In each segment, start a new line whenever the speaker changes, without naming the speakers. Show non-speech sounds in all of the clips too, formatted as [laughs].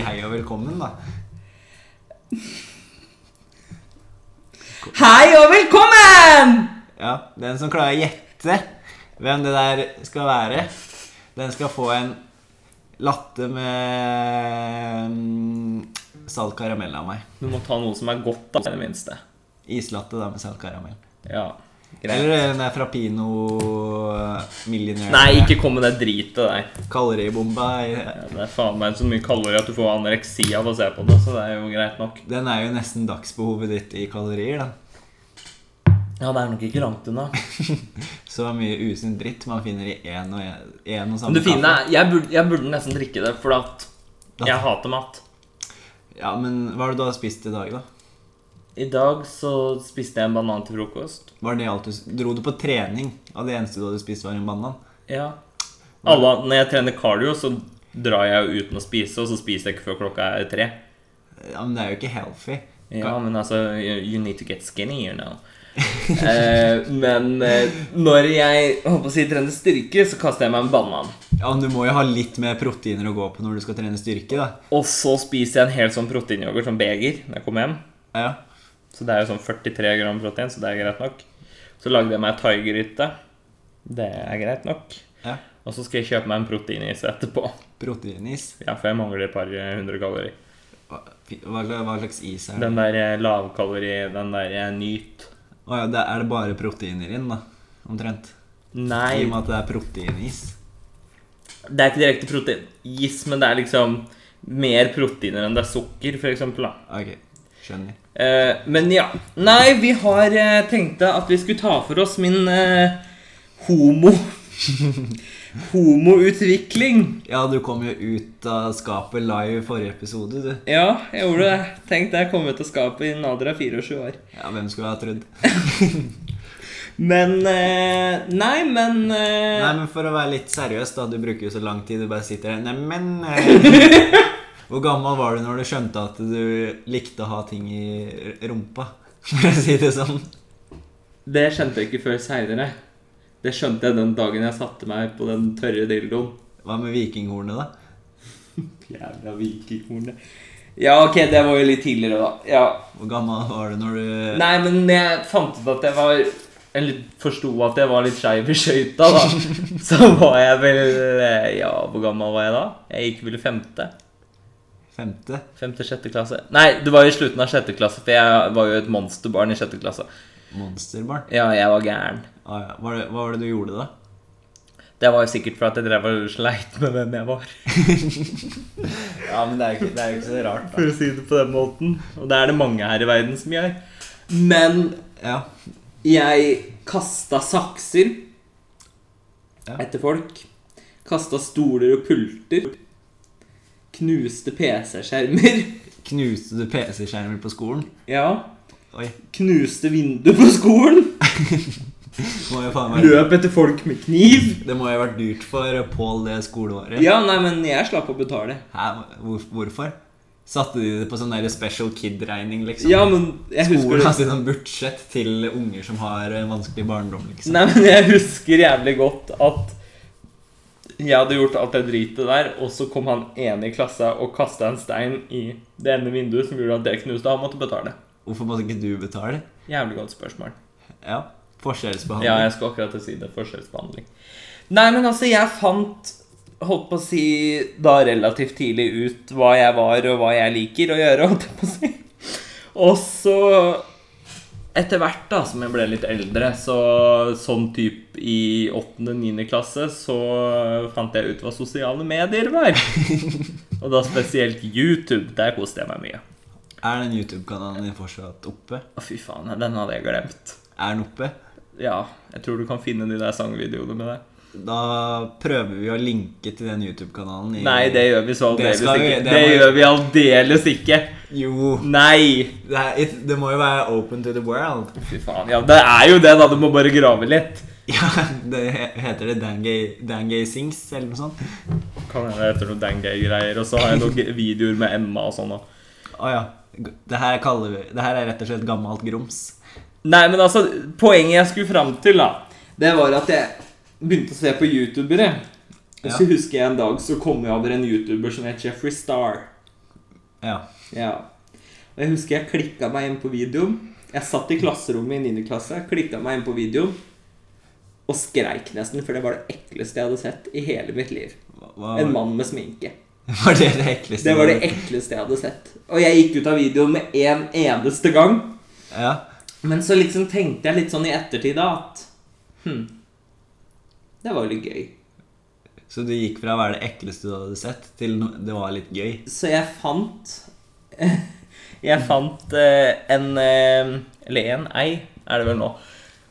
velkommen, da.
Hei og velkommen!
Ja, Den som klarer å gjette hvem det der skal være, den skal få en latte med mm, salt karamell av meg.
Du må ta noe som er godt, da, i det minste.
Islatte da med salt karamell.
Ja, greit.
Eller eh, den der Frappino eh, Millionaire.
Nei, ikke kom med det dritet der.
Kaloribomba. i-
Ja, Det er faen meg så mye kalorier at du får anoreksi av å se på det, så det er jo greit nok.
Den er jo nesten dagsbehovet ditt i kalorier, da.
Ja, det er nok ikke langt unna.
Så mye usunn dritt man finner i én og, en, en og samme
Men det fine
kaffe.
er jeg burde, jeg burde nesten drikke det, for at jeg hater mat.
Ja, men hva er det du har spist i dag, da?
I dag så spiste jeg en banan til frokost.
Var det alt du, s- dro du på trening, og det eneste du hadde spist, var en banan?
Ja. Alle, når jeg trener cardio, så drar jeg jo uten å spise, og så spiser jeg ikke før klokka er tre.
Ja, men det er jo ikke healthy.
Ja, men altså You you need to get skinny, you know. [laughs] eh, men eh, når jeg håper å si trener styrke, så kaster jeg meg en banan.
Ja, men Du må jo ha litt mer proteiner å gå på når du skal trene styrke. da
Og så spiser jeg en hel sånn proteinyoghurt, sånn beger, når jeg kommer hjem.
Ja,
Så det er jo sånn 43 gram protein, så det er greit nok. Så lagde jeg meg thaigryte. Det er greit nok.
ja.
Og så skal jeg kjøpe meg en proteinis etterpå.
Proteinis.
Ja, for jeg mangler et par eh, hundre kalorier.
Hva, hva sla- hva slags is er det?
Den der eh, lavkalori, den der eh, nyt
Å ja, det er det bare proteiner i den, da? Omtrent. I
Nei,
og med at det er proteinis.
det er ikke direkte proteinis, men det er liksom mer proteiner enn det er sukker, for eksempel, da.
Ok, skjønner.
Eh, men ja. Nei, vi har eh, tenkte at vi skulle ta for oss min eh, homo... [laughs] Homoutvikling.
Ja, du kom jo ut av skapet live i forrige episode, du.
Ja, jeg gjorde det. Tenk deg å komme ut av skapet i en alder av 24 år.
Ja, Hvem skulle ha trodd?
Men eh, Nei, men eh,
Nei, men for å være litt seriøs, da. Du bruker jo så lang tid, du bare sitter her Neimen [laughs] eh, Hvor gammel var du når du skjønte at du likte å ha ting i r- rumpa? [laughs] For å si det sånn.
Det skjønte jeg ikke før seinere. Det skjønte jeg den dagen jeg satte meg på den tørre dildoen.
Hva med vikinghornet, da?
Jævla vikinghornet. Ja, ok, det var jo litt tidligere, da. Ja.
Hvor gammel var du når du
Nei, men jeg fant ut at jeg var Eller forsto at jeg var litt skeiv i skøyta, da. Så var jeg vel eh, Ja, hvor gammel var jeg da? Jeg gikk vel i femte.
Femte?
Femte, sjette klasse. Nei, det var i slutten av sjette klasse, for jeg var jo et monsterbarn i sjette klasse.
Monsterbarn?
Ja, jeg var gæren.
Ah, ja. hva, var det, hva var det du gjorde da?
Det var jo sikkert for at jeg drev og sleit med hvem jeg var.
Ja, men det er jo ikke, så rart,
For å si det på den måten. Og det er det mange her i verden som gjør. Men
Ja.
jeg kasta sakser
Ja.
etter folk. Kasta stoler og pulter. Knuste PC-skjermer.
Knuste du PC-skjermer på skolen?
[laughs] Ja.
Oi.
Knuste vinduer på skolen.
Det må jo faen være
Løp etter folk med kniv.
Det må jo ha vært dyrt for Pål det skoleåret.
Ja, nei, men jeg slapp å betale.
Hæ? Hvor, hvorfor? Satte de det på sånn der special kid-regning, liksom?
Ja, men jeg
Skolen
husker
har sånn budsjett til unger som har en vanskelig barndom, liksom.
Nei, men jeg husker jævlig godt at jeg hadde gjort alt det dritet der, og så kom han ene i klassa og kasta en stein i det ene vinduet som gjorde at det knuste, og han måtte betale.
Hvorfor måtte ikke du betale?
Jævlig godt spørsmål.
Ja. Forskjellsbehandling.
Ja, jeg skulle akkurat til å si det. Forskjellsbehandling. Nei, men altså, jeg fant Holdt på å si da relativt tidlig ut hva jeg var, og hva jeg liker å gjøre, holdt jeg på å si. Og så Etter hvert da, som jeg ble litt eldre, så sånn typ i 8.-9. klasse, så fant jeg ut hva sosiale medier var. Og da spesielt YouTube. Der koste jeg meg mye.
Er den YouTube-kanalen din fortsatt oppe?
Å, fy faen, den hadde jeg glemt.
Er den oppe?
Ja, jeg tror du kan finne de der sangvideoene med det.
Da prøver vi å linke til den YouTube-kanalen. i-
Nei, det gjør vi så
Det
aldeles
skal vi- det
ikke. Det,
må-
gjør vi aldeles ikke.
Jo.
Nei!
Det, er, it- det må jo være open to the world. [laughs]
Fy faen. Ja, det er jo det, da. Du må bare grave litt.
Ja, det he- Heter det Dangay, Dangay Sings, eller noe sånt?
Kan hende det heter noe Dangay-greier. Og så har jeg [laughs] noen videoer med Emma og sånn. og-
Å ja. Det her, kaller vi, det her er rett og slett gammelt grums.
Nei, men altså, poenget jeg skulle fram til, da, det var at jeg begynte å se på youtubere. Og så
Ja.
husker jeg en dag så kom jeg over en youtuber som het Jeffrey Star.
Ja.
Ja. Og jeg husker jeg klikka meg inn på videoen. Jeg satt i klasserommet i 9. klasse, klikka meg inn på videoen og skreik nesten, for det var det ekleste jeg hadde sett i hele mitt liv.
Hva- Hva,
En mann med sminke.
[laughs] Var det det ekleste?
Det var det ekleste jeg hadde sett. Og jeg gikk ut av videoen med en eneste gang.
Ja.
Men så liksom tenkte jeg litt sånn i ettertid da at Hm. Det var jo litt gøy.
Så du gikk fra å være det ekleste du hadde sett, til no- det var litt gøy?
Så jeg fant [laughs] Jeg fant eh, en eh, Eller en ei, er det vel nå.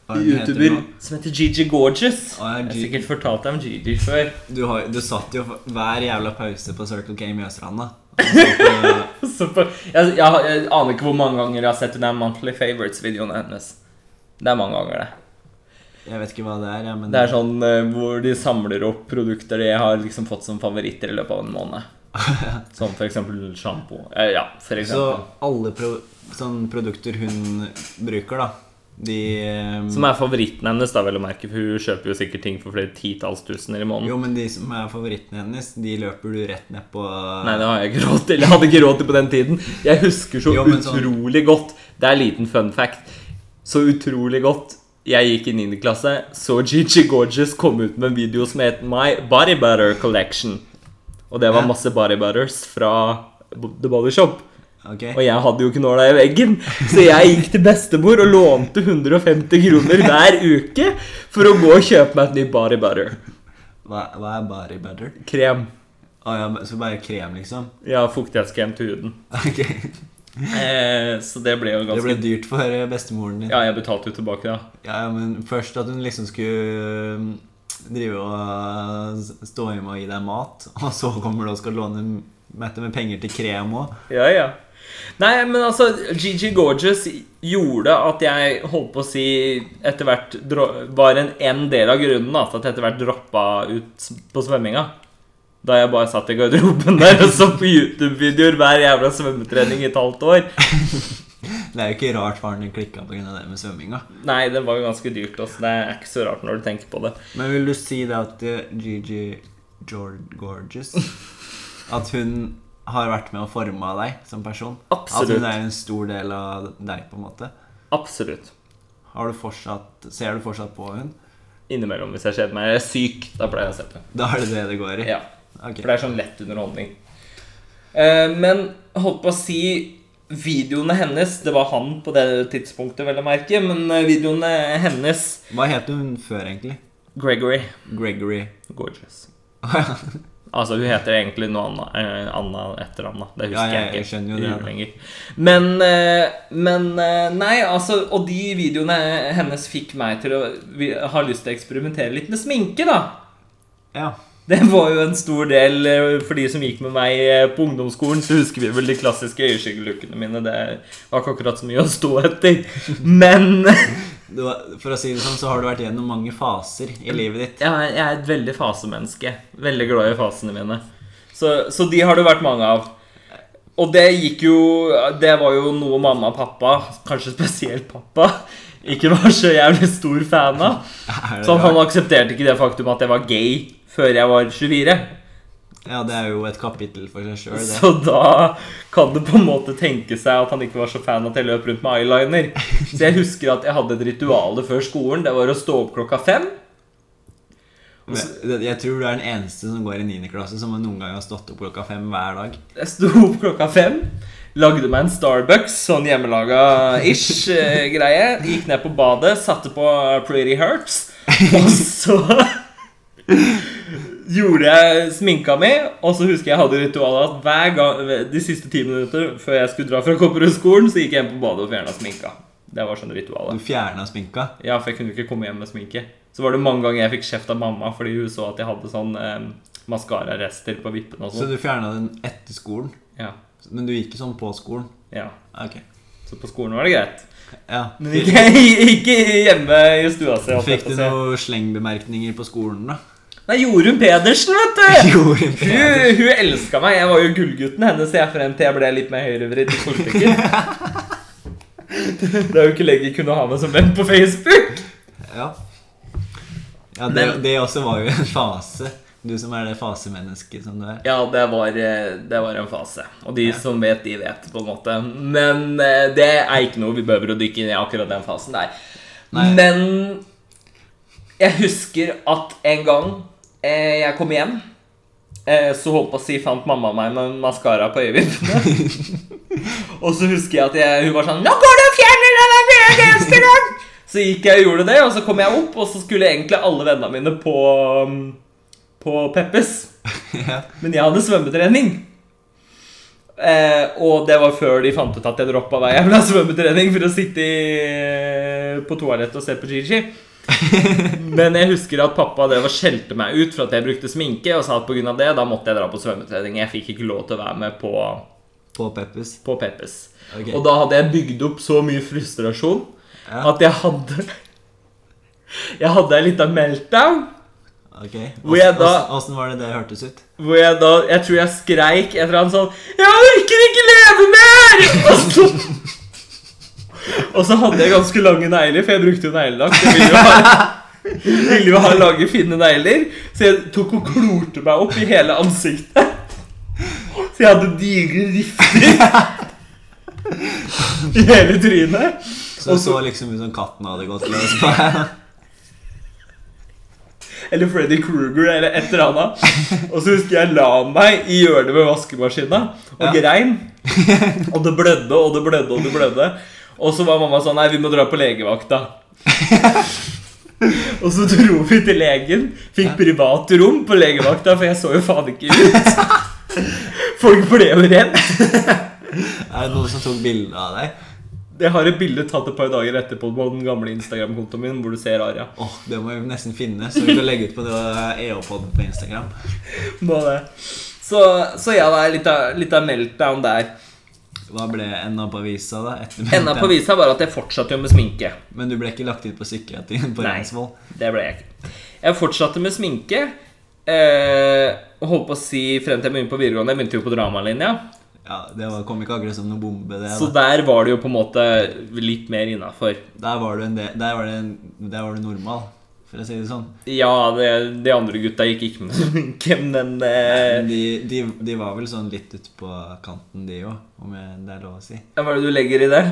Hva den heter
YouTuber
nå?
som heter Gigi Gorgeous.
Å, ja,
Jeg har
Gigi.
sikkert fortalt deg om Gigi før. [laughs]
Du, har, du satt jo for- hver jævla pause på Circle K i Mjøsstranda. Altså, og så på-
Så på- Jeg, jeg, har- jeg aner ikke hvor mange ganger jeg har sett den der Monthly Favorites-videoen hennes. Det er mange ganger, det.
[laughs] Jeg vet ikke hva det er, ja, men
Det er sånn eh, hvor de samler opp produkter de har liksom fått som favoritter i løpet av en
[laughs]
måned. Som for eksempel sjampo. Eh, ja, for
Så
eksempel.
alle pro sånn produkter hun bruker, da De ehm,
Som er favoritten hennes, da, vel å merke, for hun kjøper jo sikkert ting for flere titalls tusener i måneden.
Jo, men de som er favorittene hennes, de løper du rett ned på
Nei, det har jeg ikke råd til. Jeg hadde ikke råd til på den tiden. Jeg husker så
Jo, men sånn-
utrolig godt Det er en liten fun fact. Så utrolig godt jeg gikk i 9. klasse, så Gigi Gorgeous kom ut med en video som het My Body Butter Collection. Og det var
Hæ?
masse body butters fra B- The Body Shop.
Ok?
Og jeg hadde jo knåla i veggen, så jeg gikk til bestemor og lånte 150 kroner hver uke for å gå og kjøpe meg et nytt body butter.
Hva, hva er body butter?
Krem.
Å ja, så bare krem, liksom? [laughs]
Ja, fuktighetskrem til huden.
Ok
Eh, så det ble jo
Det
ganske
ble dyrt for eh, bestemoren din.
Ja, jeg betalte jo tilbake, da.
Ja, ja, men først at hun liksom skulle um, drive og s- stå hjemme og gi deg mat, [laughs] og så kommer du og skal låne Mette med penger til krem òg.
Ja, ja. Nei, men altså, Gigi Gorgeous gjorde at jeg holdt på å si etter hvert dro- var en, en del av grunnen da, til at jeg etter hvert droppa ut s- på svømminga. Da jeg bare satt i garderoben der og så på YouTube-videoer hver jævla svømmetrening i et halvt år.
Det er jo ikke rart faren din klikka pga. det med svømminga.
Nei, det var jo ganske dyrt også. Det er ikke så rart når du tenker på det.
Men vil du si det at eh, Gigi George Gorgeous [laughs] At hun har vært med og forma deg som person? At hun
Absolutt.
er en stor del av deg, på en måte?
Absolutt.
Har du fortsatt, ser du fortsatt på hun?
Innimellom hvis jeg kjeder meg. Jeg er syk, da pleier jeg å se på.
Da er det det det går i?
Ja.
Ok.
For det er sånn lett underholdning. Eh, men holdt på å si videoene hennes Det var han på det tidspunktet, vel å merke. Men eh, videoene hennes
Hva het hun før, egentlig?
Gregory.
Gregory. [laughs]
Gorgeous.
ja,
Altså, hun heter egentlig noe annet, eh, Anna etter Anna. Det husker
Ja, jeg-
jeg
jeg
ikke.
skjønner jo det, da.
lenger. Men, eh, men eh, Nei, altså Og de videoene hennes fikk meg til å vi- ha lyst til å eksperimentere litt med sminke, da. Det var jo en stor del eh, for de som gikk med meg eh, på ungdomsskolen, så husker vi vel de klassiske øyeskyggelookene mine. Det var ikke akkurat så mye å stå etter. Men [laughs] jeg
Du, har- for å si det sånn, så har du vært gjennom mange faser i livet ditt.
er jeg er et veldig fasemenneske. Veldig glad i fasene mine. Så, så de har det vært mange av. Og det gikk jo Det var jo noe mamma og pappa, kanskje spesielt pappa, ikke var så jævlig stor fan av.
Er det
Så han
rart?
aksepterte ikke det faktum at jeg var gay før jeg var 24.
Ja, det er jo et kapittel for seg sjøl, det.
Så da kan det på en måte tenke seg at han ikke var så fan at jeg løp rundt med eyeliner. Så jeg husker at jeg hadde et rituale før skolen. Det var å stå opp klokka fem.
Men det- Jeg tror du er den eneste som går i 9. klasse som noen gang har stått opp klokka fem hver dag.
Jeg sto opp klokka fem. Lagde meg en Starbucks, sånn hjemmelaga-ish
[laughs]
eh, greie. Gikk ned på badet, satte på Pretty Hurts. Og så [laughs] gjorde jeg sminka mi, og så husker jeg hadde ritualet at hver gang, de siste ti minutter før jeg skulle dra fra Kopperudskolen, så gikk jeg inn på badet og fjerna sminka. Det var sånn
Du
ritualet.
fjerna sminka.
Ja, for jeg kunne ikke komme hjem med sminke. Så var det mange ganger jeg fikk kjeft av mamma fordi hun så at jeg hadde sånn eh, maskararester på vippene og
Så
sånn.
du fjerna den etter skolen.
Ja,
Men du gikk sånn på skolen.
ja.
Ok.
Så på skolen var det greit.
Ja.
Men [laughs] ikke, ikke hjemme i stua si. holdt jeg
Fikk
på å
du
si.
noen slengbemerkninger på skolen, da?
Nei, Jorunn Pedersen,
[laughs]
vet du!
Gjorde du
Hun,
det?
hun elska meg. Jeg var jo gullgutten hennes jeg frem til jeg ble litt mer høyrevridd i
[laughs]
politikken. Det er jo ikke lenger kunne ha meg som venn på Facebook.
Ja. ja det, det også var jo en fase. Du som er det fasemennesket som du er. [laughs]
Ja, det var, eh, det var en fase. Og de som vet, de vet, på en måte. Men eh, det er ikke noe vi behøver å dykke inn i akkurat den fasen der.
Nei.
Men jeg husker at en gang eh, jeg kom hjem, eh, så holdt på å si fant mamma meg med maskara på øyevippene. og så husker jeg at jeg, hun var sånn 'Nå går du og fjerner deg den øyegrenseren!' så gikk jeg og gjorde det, og så kom jeg opp, og så skulle egentlig alle vennene mine på, um, på Peppes.
ja.
Men jeg hadde svømmetrening. Eh, og det var før de fant ut at jeg droppa hver jævla svømmetrening for å sitte i, på toalettet og se på Gigi. Men jeg husker at pappa drev og skjelte meg ut for at jeg brukte sminke, og sa at pga. det da måtte jeg dra på svømmetrening. Jeg fikk ikke lov til å være med på,
På Peppers.
på Peppes.
Ok.
Og da hadde jeg bygd opp så mye frustrasjon
Ja.
at jeg hadde Jeg hadde en liten meltdown.
Ok.
Hvor jeg da-
Åssen var det det hørtes ut?
Hvor jeg da Jeg tror jeg skreik etter han sånn Jeg orker ikke leve mer! Og så, og så hadde jeg ganske lange negler, for jeg brukte jo neglelakk. Jeg ville jo ha, ville jo ha lange, fine negler. Så jeg tok og klorte meg opp i hele ansiktet. Så jeg hadde digre rifter i hele trynet.
Så det så liksom ut som katten hadde gått løs på deg.
[laughs] Eller Freddy Krueger, eller et eller annet. Og så husker jeg la meg i hjørnet ved vaskemaskina og
Ja.
grein. [laughs] Og det blødde og det blødde og det blødde. Og så var mamma sånn Nei, vi må dra på [laughs] legevakta. og så dro vi til legen, fikk privat rom på legevakta, for jeg så jo faen ikke ut. Folk ble jo redd.
Er det noen som tok bilde av deg?
Jeg har et bilde tatt et par dager etterpå på den gamle Instagram-kontoen min hvor du ser Aria.
Åh, Det må vi nesten finne, så vi kan legge ut på det EO-poden på Instagram.
Må det. Så, så ja, det er litt av, litt av meltdown der.
Hva ble enda på avisa, da? Etter
Enda på visa var at jeg fortsatte jo med sminke.
Men du ble ikke lagt inn på psykiatrien på
Nei.
Rensvoll?
Det ble jeg ikke. Jeg fortsatte med sminke. Eh, holdt på å si frem til jeg begynte på videregående. Jeg begynte jo på dramalinja.
Ja, det var, kom ikke akkurat som noen bombe, det.
Så
Da.
der var det jo på en måte litt mer innafor.
Der var du en del, der var det en- der var du normal, for å si det sånn.
Ja, det, de andre gutta gikk ikke med [laughs] sminke, men eh,
Men de, de, de var vel sånn litt ute på kanten, de òg, om jeg- det er lov å si.
Hva er det du legger i det?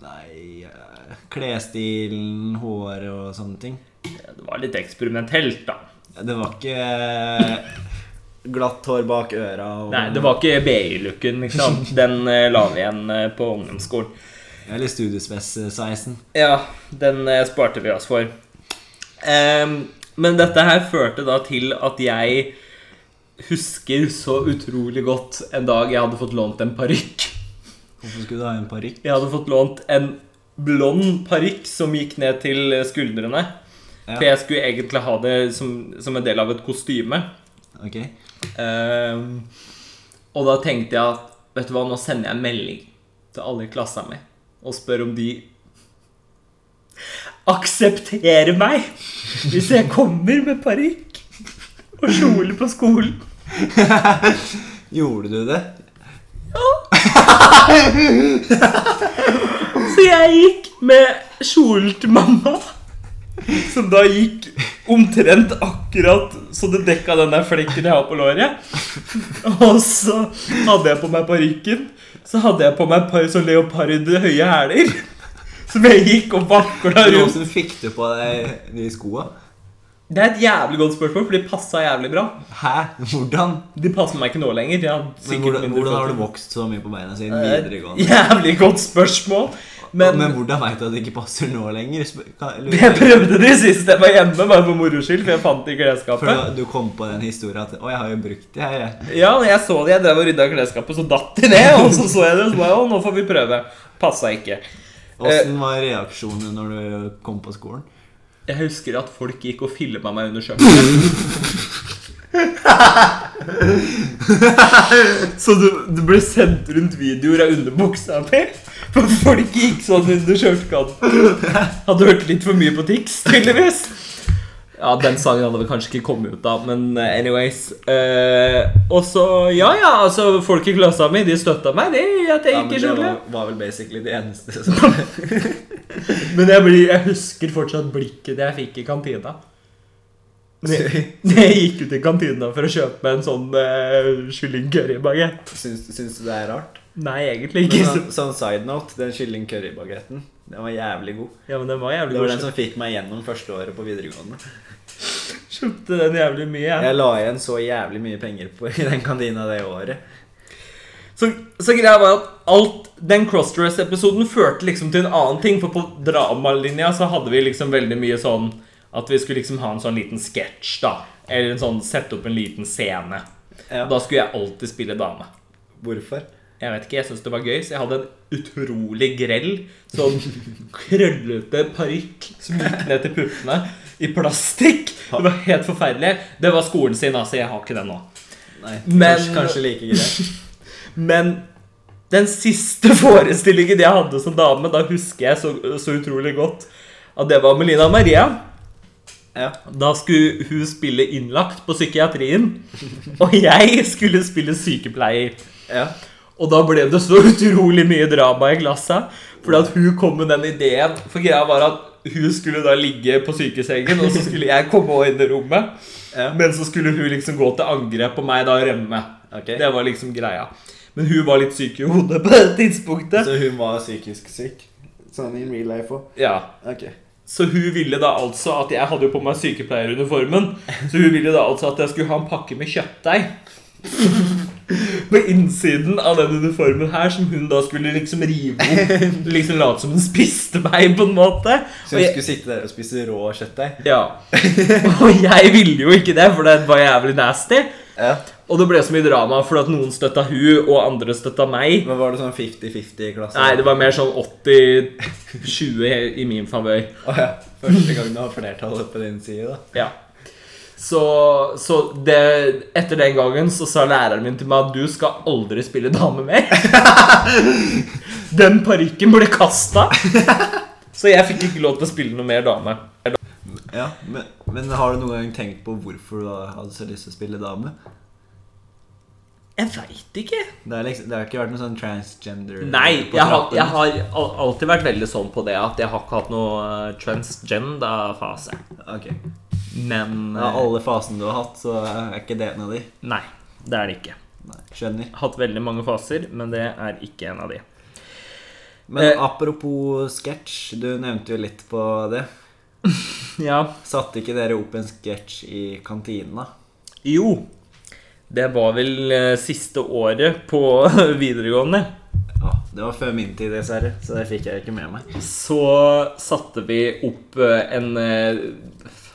Nei eh, Klesstilen, håret og sånne ting.
Det var litt eksperimentelt, da.
Det var ikke eh, glatt hår bak øra og
Nei, det var ikke BI-looken, liksom. Den eh, la vi igjen eh, på ungdomsskolen.
Eller studiespess-sveisen.
Ja, den eh, sparte vi oss for. Ehm, men dette her førte da til at jeg husker så utrolig godt en dag jeg hadde fått lånt en parykk.
Hvorfor skulle du ha en parykk?
Jeg hadde fått lånt en blond parykk som gikk ned til skuldrene.
Ja.
For jeg skulle egentlig ha det som, som en del av et kostyme.
Ok.
Ehm, og da tenkte jeg at vet du hva, nå sender jeg en melding til alle i klassa mi og spør om de aksepterer meg hvis jeg kommer med parykk og kjole på skolen.
Gjorde du det?
Så jeg gikk med kjolen til mamma, som da gikk omtrent akkurat så det dekka den der flekken jeg har på låret. Og så hadde jeg på meg parykken. Så hadde jeg på meg et par sånn leopardhøye hæler. Som jeg gikk og vakla
Men
rundt.
Hvordan fikk du på deg de skoa?
Det er et jævlig godt spørsmål, for de passa jævlig bra.
Hæ? Hvordan?
De passer meg ikke nå lenger. Jeg hadde
Men
sikkert
hvordan,
mindre
hvordan har
føtter.
du vokst så mye på beina siden
Det er et
videregående?
Jævlig godt spørsmål.
Men,
Men,
hvordan veit du at det ikke passer nå lenger? Sp- kan-
jeg
lurer-
prøvde det sist jeg var hjemme, bare for moro skyld, for jeg fant det i
For
klesskapet.
da- du kom på den historien at 'Å, jeg har jo brukt det her', jeg.
Ja, når jeg så det, jeg drev og rydda i klesskapet, så datt de ned. Og så så jeg det, og så bare, å, nå får vi prøve. Passa ikke. Eh,
Åssen var reaksjonene når du kom på skolen?
Jeg husker at folk gikk og filma meg under kjøkkenet. så du, du ble sendt rundt videoer av underbuksa mi? For folk gikk sånn under skjørtkanten. Hadde hørt litt for mye på Tix, tydeligvis. Ja, den sangen hadde vel kanskje ikke kommet ut av, men eh, anyways. Eh, og så, ja ja, altså, folk i klassa mi, de støtta meg, de, at jeg
Ja,
gikk
men
i
det
kjole.
var, var vel basically det eneste
[laughs]
som
Men jeg, blir, jeg husker fortsatt blikket jeg fikk i kantina.
[laughs]
Jeg gikk ut i kantina for å kjøpe meg en sånn uh, kylling-currybagett.
Syns, syns du det er rart?
Nei, egentlig ikke.
Men Sånn, sånn side note, den kylling currybagetten, den var jævlig god.
Ja, men den var jævlig
Det var
god.
den som fikk meg gjennom første året på videregående.
Jeg Kjøpte den jævlig mye, jeg.
Jeg la igjen så jævlig mye penger på, i den kantina det året.
Så, så greia var at alt Den crossdress-episoden førte liksom til en annen ting. For på dramalinja så hadde vi liksom veldig mye sånn at vi skulle liksom ha en sånn liten sketsj, da. Eller en sånn sette opp en liten scene.
Ja.
Da skulle jeg alltid spille dame.
Hvorfor?
Jeg vet ikke, jeg syntes det var gøy, så jeg hadde en utrolig grell, sånn krøllete parykk som gikk ned til puppene i plastikk. Det var helt forferdelig. Det var skolen sin, altså. Jeg har ikke den nå.
Nei,
Men-
kanskje, kanskje like greit.
Men den siste [laughs] forestillingen jeg hadde som dame, da husker jeg så, så utrolig godt at det var Melina Maria.
Ja.
Da skulle hun spille innlagt på psykiatrien, og jeg skulle spille sykepleier.
ja.
Og da ble det så [laughs] utrolig mye drama i glasset. Fordi at hun kom med den ideen. For greia var at hun skulle da ligge på sykesengen, og så skulle jeg komme også inn i rommet.
Ja.
Men så skulle hun liksom gå til angrep på meg da og rømme.
Ok.
Det var liksom greia. Men hun var litt syk i hodet på det tidspunktet.
Så hun var psykisk syk? Sånn in real life òg?
Ja.
Ok.
Så hun ville da altså at Jeg hadde jo på meg sykepleieruniformen. Så hun ville da altså at jeg skulle ha en pakke med kjøttdeig. [laughs] På innsiden av den uniformen her, som hun da skulle liksom
[laughs]
rive opp. Liksom late som hun spiste meg, på en måte.
Så
Og
hun
jeg,
skulle sitte der og spise rå kjøttdeig?
ja. [laughs] og jeg ville jo ikke det, for det var jævlig nasty.
Ja.
Og det ble så mye drama fordi at noen støtta hun, og andre støtta meg.
Men var det sånn 50-50 i klassen?
Nei, det var mer sånn 80-20 i min favør.
Å ja. Første gang du har flertallet på din side, da.
Ja. Så, så det, etter den gangen så sa læreren min til meg at du skal aldri spille dame mer. [laughs] den parykken ble kasta. Så jeg fikk ikke lov til å spille noe mer dame.
Ja, men, men har du noen gang tenkt på hvorfor du hadde så lyst til å spille dame?
Jeg veit ikke.
Det, er liksom, det har ikke vært noen sånn transgender
Nei,
på
jeg har,
trappen.
jeg har al- alltid vært veldig sånn på det at jeg har ikke hatt noe eh, transgender-fase.
Ok.
Men
Av
eh,
alle fasene du har hatt, så er ikke det en av de.
Nei, det er det ikke.
Nei, skjønner.
Hatt veldig mange faser, men det er ikke en av de.
Men
Eh.
apropos sketsj, du nevnte jo litt på det.
Ja,
Satte ikke dere opp en sketsj i kantina?
Jo. Det var vel eh, siste året på [laughs] videregående.
Ja, det var før min tid, dessverre, så det fikk jeg ikke med meg.
Så satte vi opp eh, en eh,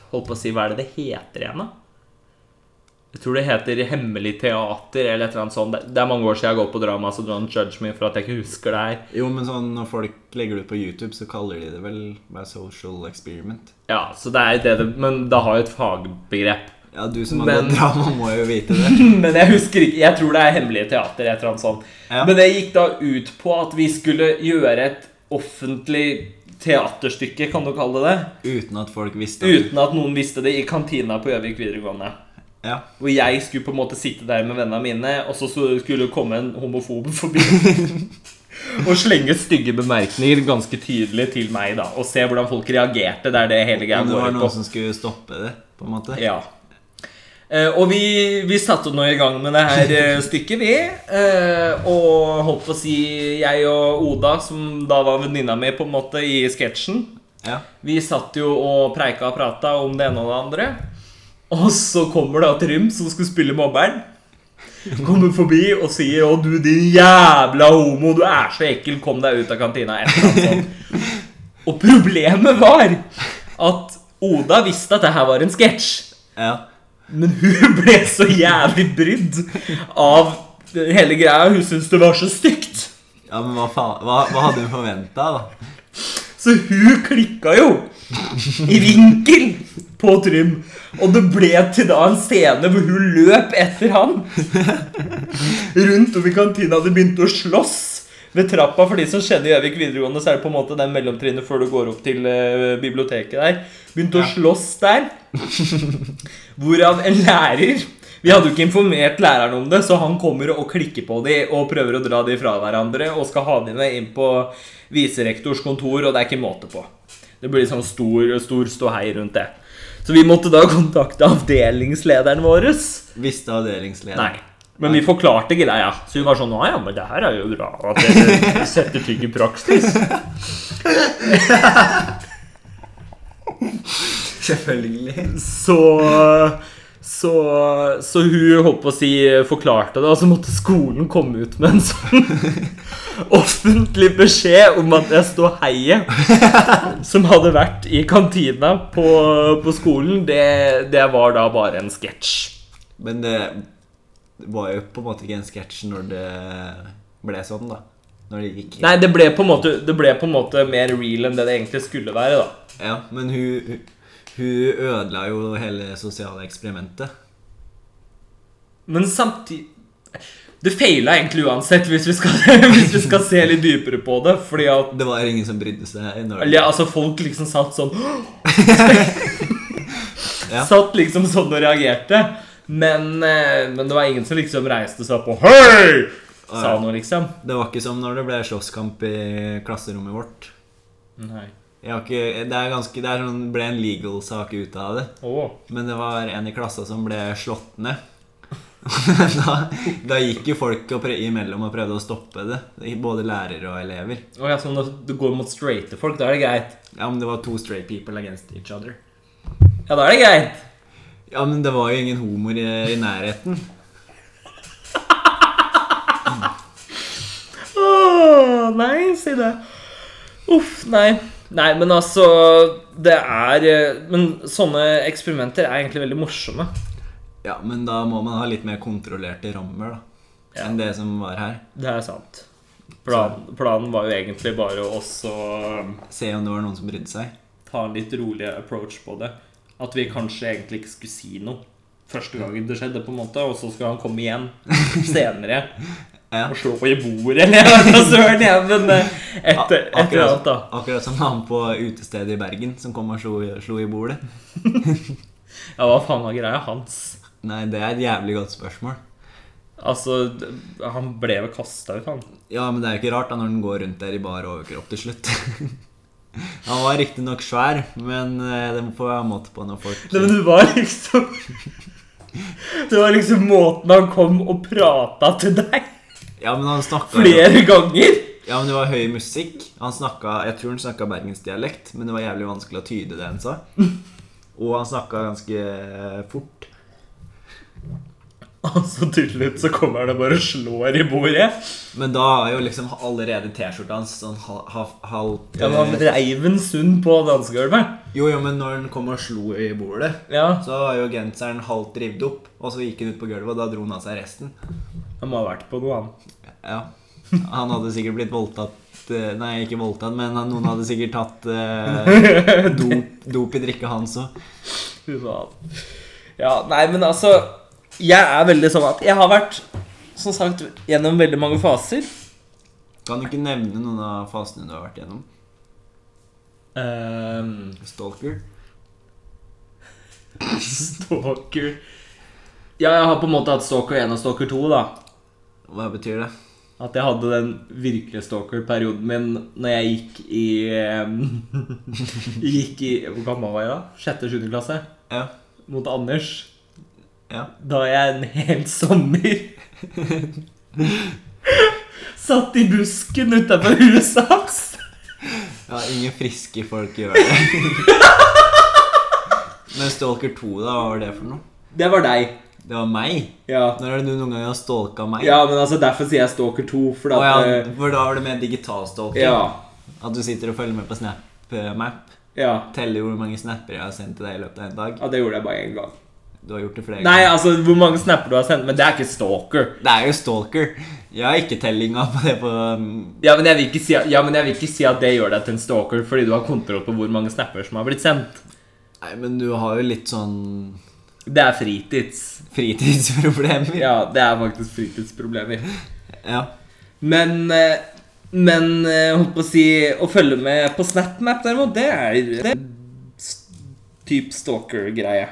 Holdt på å si, hva er det det heter igjen, da? Jeg tror det heter Hemmelig teater eller et eller annet sånt. Det- Det er mange år siden jeg har gått på drama, så don't judge me for at jeg ikke husker det her.
Jo, men sånn når folk legger det ut på YouTube, så kaller de det vel bare social experiment.
Ja, så det er det det Men det har jo et fagbegrep.
Ja, du som har
Men-
gått drama, må jo vite det.
[laughs] Men jeg husker ikke Jeg tror det er Hemmelig teater. Et eller annet sånt.
Ja.
Men det gikk da ut på at vi skulle gjøre et offentlig teaterstykke, kan du kalle det det,
Uten at folk visste at-
uten at noen visste det, i kantina på Gjøvik videregående.
Ja.
Hvor jeg skulle på en måte sitte der med vennene mine, og så skulle det komme en homofob forbi. og slenge stygge bemerkninger ganske tydelig til meg, da. Og se hvordan folk reagerte. Det er det hele greia
Om det var
går ut på.
noen som skulle stoppe det, på en måte.
Ja. Eh, og vi, vi satte nå i gang med det her eh, stykket, vi. Eh, og holdt på å si jeg og Oda, som da var venninna mi på en måte i sketsjen,
Ja.
vi satt jo og preika og prata om det ene og det andre. Og så kommer da Trym, som skulle spille mobberen. Kommer forbi og sier 'Å, du din jævla homo, du er så ekkel, kom deg ut av kantina'. Et eller annet sånt. Og problemet var at Oda visste at det her var en sketsj.
ja.
Men hun [laughs] ble så jævlig brydd av hele greia. Hun syntes det var så stygt.
Ja, men hva faen Hva, hva hadde hun forventa, da?
Så hun klikka jo i vinkel på Trym. Og det ble til da en scene hvor hun løp etter han. Rundt om i kantina de begynte å slåss ved trappa. For de som kjenner Gjøvik videregående, så er det på en måte den mellomtrinnet før du går opp til eh, biblioteket der. Begynte å slåss der. Hvorav en lærer Vi hadde jo ikke informert læreren om det, så han kommer og klikker på de og prøver å dra de fra hverandre og skal ha de med inn på viserektors kontor, og det er ikke måte på. Det blir sånn stor, stor liksom ståhei rundt det. Så vi måtte da kontakte avdelingslederen vår.
Visste avdelingsleder.
Nei. Men vi forklarte greia. Så hun var sånn Ja, ja, men det her er jo bra. At dere setter ting i praksis.
[laughs] Selvfølgelig.
Så så, så hun holdt på å si forklarte det, og så måtte skolen komme ut med en sånn offentlig beskjed om at det står heie som hadde vært i kantina på, på skolen. Det, det var da bare en sketsj.
Men det var jo på en måte ikke en sketsj når det ble sånn, da. Når det gikk
Nei, det ble, på en måte, det ble på en måte mer real enn det det egentlig skulle være. da
Ja, men hun, hun- hun ødela jo hele sosiale eksperimentet.
Men samtidig Det feila egentlig uansett, hvis vi, skal, [laughs] hvis vi skal se litt dypere på det. Fordi at
Det var ingen som brydde seg. i Norge.
eller, ja, altså Folk liksom satt sånn
Ja.
Satt liksom sånn og reagerte. Men, eh, men det var ingen som liksom reiste seg opp og Hei! sa noe, liksom.
Det var ikke som når det ble slåsskamp i klasserommet vårt.
Nei.
Jeg har ikke, det er ganske, det er sånn, ble en legal sak ut av det.
Åh.
Men det var en i klassa som ble slått ned. [laughs] da, da gikk jo folk og prø imellom og prøvde å stoppe det. Både lærere og elever.
Å ja, så når du går mot straighte folk, da er det greit?
Ja, men det var to straight people against each other.
Ja, da er det greit.
Ja, men det var jo ingen homoer i, i nærheten.
Åh, nei, si det. Uff, nei. Nei, men altså Det er eh, Men sånne eksperimenter er egentlig veldig morsomme.
Ja, men da må man ha litt mer kontrollerte rammer, da.
Ja.
Enn det som var her.
Det er sant. Plan, planen var jo egentlig bare å også eh,
Se om det var noen som brydde seg.
ta en litt rolig approach på det. At vi kanskje egentlig ikke skulle si noe første gangen det skjedde, på en måte, og så skal han komme igjen [laughs] senere
Ja.
og slå på i bordet, eller jeg vet da søren, jeg, men eh, et, et eller
akkurat,
annet, da.
akkurat som han på utestedet i Bergen som kom og slo, slo i bordet.
Ja, hva faen var greia hans?
Nei, det er et jævlig godt spørsmål.
Altså, d- han ble vel kasta ut, han.
Ja, men det er jo ikke rart da når den går rundt der i bar overkropp til slutt. [laughs] Han var riktignok svær, men eh, det må få være måte på når folk
Nei, men det var liksom [laughs] Det var liksom måten han kom og prata til deg
Ja, men han snakka
flere ganger.
Ja, men det var høy musikk. Han snakka Jeg tror han snakka bergensdialekt, men det var jævlig vanskelig å tyde det han
[laughs]
sa. Og han snakka ganske eh, fort.
Og så til slutt så kommer han og bare slår i bordet.
Men da har jo liksom allerede T-skjorta hans sånn hal- hal- halvt eh,
Ja, men han reiv en sund på dansegulvet.
Jo, jo, men når han kom og slo i bordet,
Ja,
så var jo genseren halvt revet opp, og så gikk han ut på gulvet, og da dro han av seg resten.
han må ha vært på noe, han.
Ja. Han hadde sikkert blitt voldtatt eh, Nei, ikke voldtatt, men han- noen hadde sikkert tatt
[laughs]
eh, dop, dop i drikka hans òg.
Fy faen. Ja, nei, men altså Jeg er veldig sånn at jeg har vært, som sagt, gjennom veldig mange faser.
Kan du ikke nevne noen av fasene du har vært gjennom?
Ehm, [laughs]
Stalker?
stalker Ja, jeg har på en måte hatt stalker 1 og stalker 2, da.
Hva betyr det?
At jeg hadde den virkelige stalker-perioden min når jeg gikk i eh, [laughs] Gikk i Hvor gammel var jeg da? Sjette-sjuende klasse?
Ja.
Mot Anders.
Ja.
Da jeg en hel sommer Satt i busken utafor huset hans.
ja ingen friske folk gjør det. [laughs] Men Stalker 2, da, hva var det for noe?
Det var deg.
Det var meg?
Ja.
Når er det du noen gang har stalka meg?
ja, men altså derfor sier jeg stalker 2. For
Å
at,
ja,
eh,
for da var det mer digital stalking?
ja,
At du sitter og følger med på SnapMap?
ja.
Teller hvor mange snapper jeg har sendt til deg i løpet av en dag?
Ja, det gjorde jeg bare én gang.
Du har gjort det flere
Nei,
ganger.
altså, hvor mange snapper du har sendt, men det er ikke stalker.
Det er jo stalker. Jeg har ikke tellinga på det på um,
Ja men, jeg vil ikke si, ja, men jeg vil ikke si at det gjør deg til en stalker, fordi du har kontroll på hvor mange snapper som har blitt sendt.
Nei, men du har jo litt sånn
Det er fritids.
fritidsproblemer.
Ja, det er faktisk fritidsproblemer.
ja.
Men eh, Men eh, holdt på å si Å følge med på SnapMap, derimot, det er det er s- typ stalker-greie.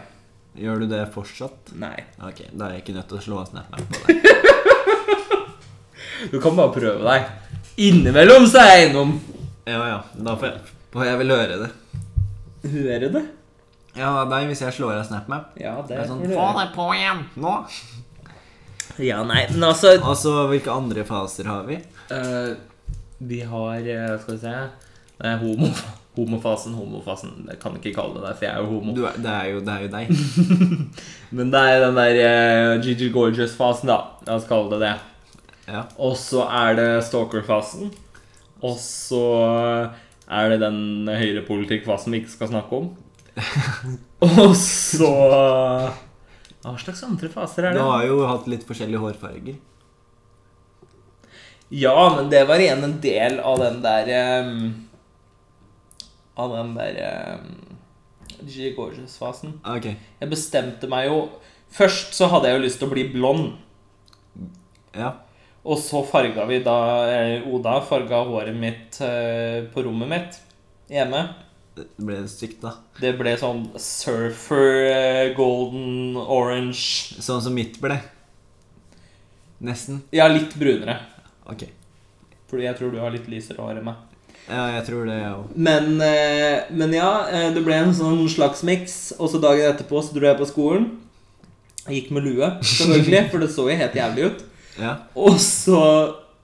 Gjør du det fortsatt?
Nei.
Ok, da er jeg ikke nødt til å slå av SnapMap på [laughs] deg.
Du kan bare prøve deg. Innimellom så er jeg innom.
Ja ja, da får jeg, får jeg vel høre det.
Hører det?
Ja, det er deg hvis jeg slår av SnapMap.
Ja, det
Det er sånn,
får du
Få
gjøre.
deg på igjen! Nå!
Ja, nei, men altså
Og så, hvilke andre faser har vi?
eh, Vi har eh, Skal vi se Nei, homo, homofasen, homofasen. Jeg kan ikke kalle det det, for jeg er jo homo.
Du er, det, er jo, det er jo deg.
[laughs] Men det er den der eh, Gigi Gorgeous-fasen, da. La oss kalle det det.
Ja.
Og så er det stalker-fasen. Og så er det den høyrepolitikk-fasen vi ikke skal snakke om. Og så Hva slags andre faser er
Du
det?
har jo hatt litt forskjellige hårfarger.
Ja, men det var igjen en del av den der ehm, Av den der ehm, Gigi Gorgeous-fasen.
Ok.
Jeg bestemte meg jo Først så hadde jeg jo lyst til å bli blond.
Ja.
Og så farga vi da eh, Oda farga håret mitt eh, på rommet mitt hjemme.
Det ble stygt, da.
Det ble sånn surfer, eh, golden, orange
Sånn som mitt ble. Nesten.
Ja, litt brunere.
Ok.
Fordi jeg tror du har litt lysere hår enn meg.
Ja, jeg tror det, jeg òg.
Men, eh, men ja, eh, det ble en sånn slags miks. Og så dagen etterpå så dro jeg på skolen. Jeg gikk med lue, selvfølgelig, for det så jo helt jævlig ut.
Ja.
Og så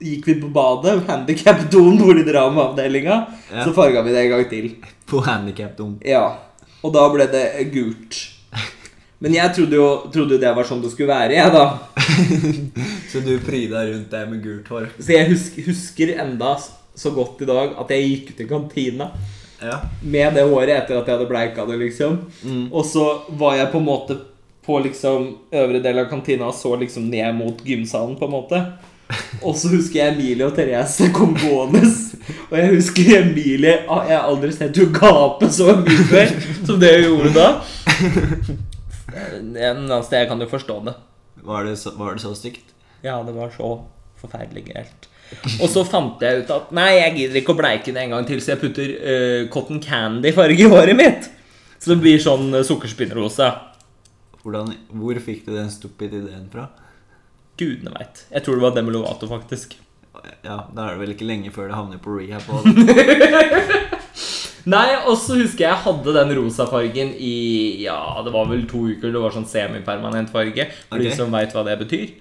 gikk vi på badet, handikap-doen hvor de drar med avdelinga.
Ja.
Så farga vi det en gang til.
På handikap-dum.
Ja, og da ble det gult. Men jeg trodde jo, trodde jo det var sånn det skulle være, jeg, da.
Så du pryda rundt deg med gult hår?
Så jeg husker, husker enda s- så godt i dag at jeg gikk ut i kantina
Ja.
med det håret etter at jeg hadde bleika det, liksom. Og så var jeg på en måte på liksom øvre del av kantina og så liksom ned mot gymsalen, på en måte. Og så husker jeg Emilie og Therese kom gående. Og jeg husker Emilie ah, Jeg har aldri sett henne gape så mye før som det hun gjorde da. Men altså, jeg kan jo forstå det.
Var det så, var det så stygt?
Ja, det var så forferdelig gærent. Og så fant jeg ut at nei, jeg gidder ikke å bleike det en gang til, så jeg putter eh, cotton candy-farge i håret mitt. Så det blir sånn uh, sukkerspinnrose.
Hvordan, hvor fikk du den stupid ideen fra?
Gudene veit. Jeg tror det var Demi Lovato, faktisk.
Ja, Da er det vel ikke lenge før det havner på rehab. Og
Nei, og så husker jeg jeg hadde den rosa fargen i Ja, det var vel to uker. Det var sånn semipermanent farge. For
Ok.
de som veit hva det betyr.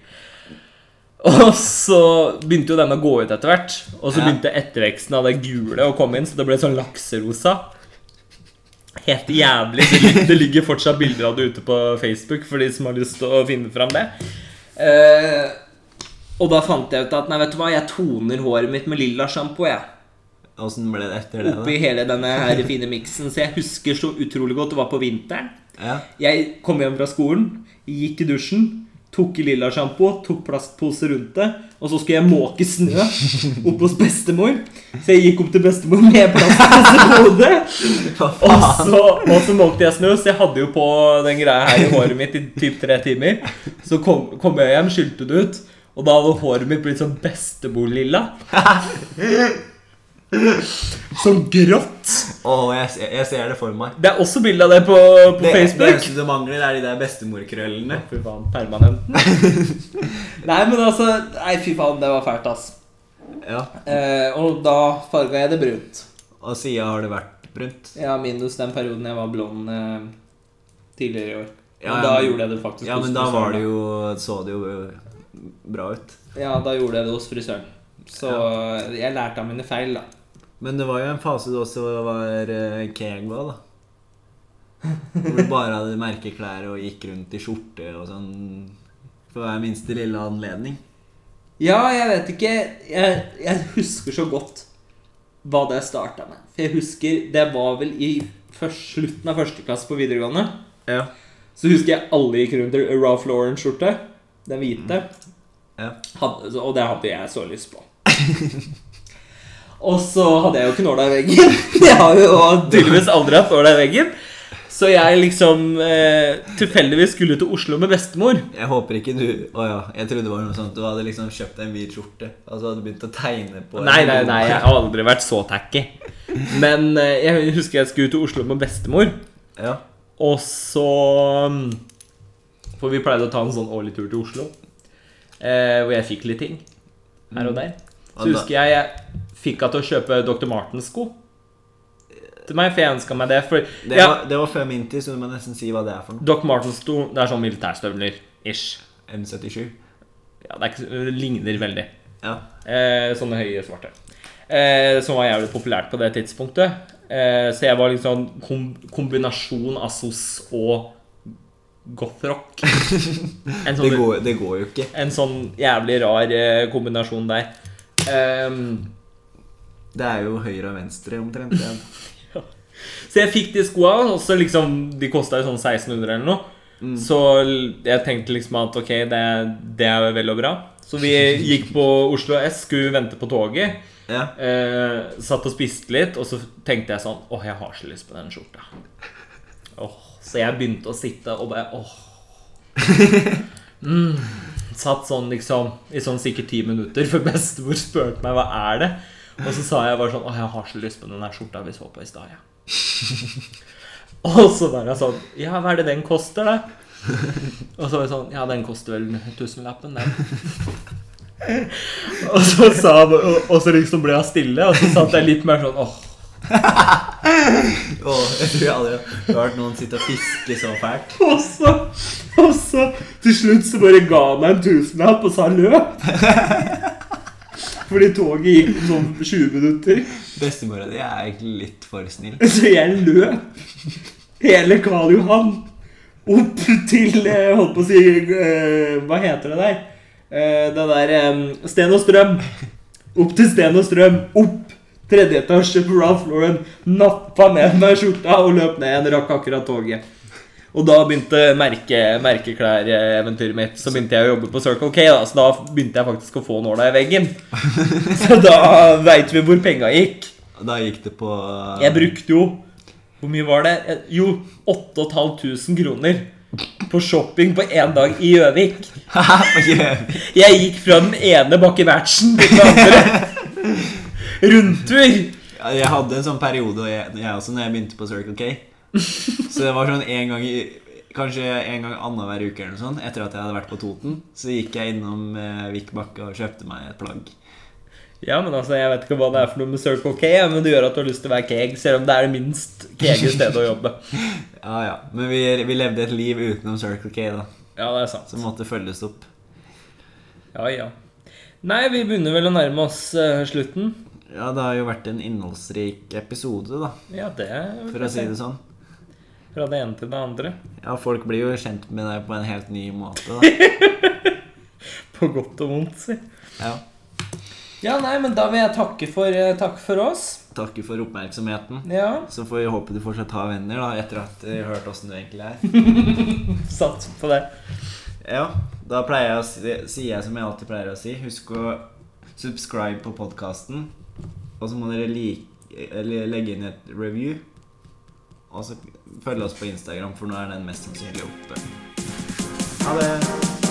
Og så begynte jo den å gå ut etter hvert. Og så
Ja.
begynte etterveksten av det gule å komme inn, så det ble sånn lakserosa. Helt jævlig. Det ligger, det ligger fortsatt bilder av det ute på Facebook for de som har lyst til å finne fram det. Eh, og da fant jeg ut at nei, vet du hva, jeg toner håret mitt med lilla sjampo, jeg
Åssen ble det etter det?
oppi hele denne her fine miksen. Så jeg husker så utrolig godt det var på vinteren.
da? Ja.
Jeg kom hjem fra skolen, gikk i dusjen, tok i lilla sjampo, tok plastpose rundt det, og så skulle jeg måke snø opp hos bestemor. Så jeg gikk opp til bestemor med plastpose på hodet.
Hva
Og
faen?
så, og så måkte jeg snø, så jeg hadde jo på den greia her i håret mitt i typ tre timer. Så kom, kom jeg hjem, skylte det ut, og da hadde håret mitt blitt sånn bestemorlilla. Sånn grått.
Å, jeg, ser- jeg ser det for meg.
Det er også bilde av det på, på
Det, det
Facebook.
eneste du mangler, er de der bestemorkrøllene.
Fy faen,
[laughs]
permanenten. nei, men altså Nei, fy faen, det var fælt, ass.
Ja.
Eh, og da farga jeg det brunt.
Og sida har det vært brunt.
Ja, minus den perioden jeg var blond eh, tidligere i år.
Ja, ja,
Men da
men-
gjorde jeg det faktisk
Ja,
hos
men da
frisøren,
var
da.
det jo, så det jo bra ut.
Ja, da gjorde jeg det hos frisøren. Så eh, jeg lærte av mine feil, da.
Men det var jo en fase du også var eh, keg på, da. Hvor du bare hadde merkeklær og gikk rundt i skjorte og sånn for hver minste lille anledning.
Ja, jeg vet ikke Jeg, jeg husker så godt hva det starta med. For jeg husker Det var vel i først, slutten av første klasse på videregående.
Ja.
Så husker jeg alle gikk rundt i Ralph Lauren-skjorte. Den hvite.
Ja.
Hadde, så- og det hadde jeg så lyst på. [laughs] og så hadde jeg jo knåla i veggen. [laughs] Jeg har jo tydeligvis aldri hatt nåla i veggen. Så jeg liksom eh, tilfeldigvis skulle til Oslo med bestemor.
Jeg håper ikke du Å ja, jeg trodde det var noe sånt. Du hadde liksom kjøpt deg en hvit skjorte, og så hadde du begynt å tegne på
Nei, nei, nei, jeg har aldri vært så tacky. Men eh, jeg husker jeg skulle til Oslo med bestemor,
Ja.
og så mm, For vi pleide å ta en sånn årlig tur til Oslo, eh, hvor jeg fikk litt ting her og der.
Og
Så
da-
husker jeg jeg fikk henne til å kjøpe Dr. Martens-sko.
til meg, for jeg ønska meg det. For
Det,
ja,
var, det var før min tid, så du må nesten si hva det er for noe.
Doc Martens-sto, det er sånn militærstøvler. Ish.
M77.
Ja, det, er ikke, det ligner veldig.
Ja.
Eh, sånne høye svarte. Eh, som var jævlig populært på det tidspunktet. Eh, så jeg var liksom kom, kombinasjon av SOS og gothrock. En
Det
sånn,
går, det går jo ikke.
en sånn jævlig rar eh, kombinasjon der. Ehm,
Det er jo høyre og venstre omtrent. Ja.
så jeg fikk de skoa, og så liksom De kosta jo sånn 1600 eller noe. Så l- jeg tenkte liksom at ok, det, det er jo vel og bra. Så vi gikk på Oslo S, skulle vente på toget.
Ja.
Eh, satt og spiste litt, og så tenkte jeg sånn Åh, jeg har så lyst på den skjorta. Åh, så jeg begynte å sitte og bare Åh. Mm. Satt sånn liksom i sånn sikkert ti minutter, for bestemor spurte meg hva er det Og så sa jeg bare sånn Åh, jeg har så lyst på den der skjorta vi så på i stad, ja. og så var jeg sånn Ja, hva er det den koster, da? Og så var jeg sånn Ja, den koster vel tusenlappen, den. [laughs] Og så, sa, han- og, og så liksom ble han stille, og så satt jeg litt mer sånn åh.
Åh, jeg tror jeg aldri har hørt noen sitte og fiske så fælt.
Og så, og så til slutt så bare ga han meg en tusenlapp og sa løp. [laughs] Fordi toget gikk om sånn 20 minutter.
Bestemora di er egentlig litt for snill.
[laughs] Så jeg løp hele Karl Johan opp til eh, Holdt på å si eh, Hva heter det der? Eh, Det der eh, Sten og Strøm. Opp til Sten og Strøm. Opp! Tredje etasje på Ralph Lauren. Nappa med meg skjorta og løp ned igjen. Rakk akkurat toget. Og da begynte merke, merkeklær-eventyret mitt. Så begynte jeg å jobbe på Circle K, da, så da begynte jeg faktisk å få nåla i veggen. Så da veit vi hvor penga gikk.
Og Da gikk det på
Jeg
[laughs]
brukte jo Hvor mye var det? Jeg- Jo, 8500 kroner på shopping på én dag i Gjøvik.
På Gjøvik.
Jeg gikk fra den ene Bakke Berntsen til den andre. Rundtur.
Ja, Jeg hadde en sånn periode jeg, jeg også når jeg begynte på Circle K. Så det var sånn en gang i Kanskje en gang annenhver uke eller noe sånt etter at jeg hadde vært på Toten. Så gikk jeg innom eh, Vik Bakke og kjøpte meg et plagg.
Ja, men altså, Jeg vet ikke hva det er for noe med Circle K, ja, men det gjør at du har lyst til å være keg, selv om det er det minst kege stedet å jobbe.
Ja, ja. Men vi, vi levde et liv utenom Circle K, da.
Ja, det er sant.
Som måtte følges opp.
Ja, ja. Nei, vi begynner vel å nærme oss eh, slutten.
Ja, det har jo vært en innholdsrik episode, da,
Ja, det er
for å si det sånn.
Fra det ene til det andre.
Ja, folk blir jo kjent med deg på en helt ny måte, da.
På godt og vondt, si.
Ja.
Ja, nei, men da vil jeg takke for, eh, takk for oss.
Takker for oppmerksomheten.
Ja,
Så får vi håpe du fortsatt har venner, da, etter at du har hørt åssen du egentlig er.
sats på det.
Ja, da pleier jeg å si, sier jeg som jeg alltid pleier å si. Husk å subscribe på podkasten. Og så må dere like, eller legge inn et review. Og så følge oss på Instagram, for nå er den mest sannsynlig oppe. Ha det!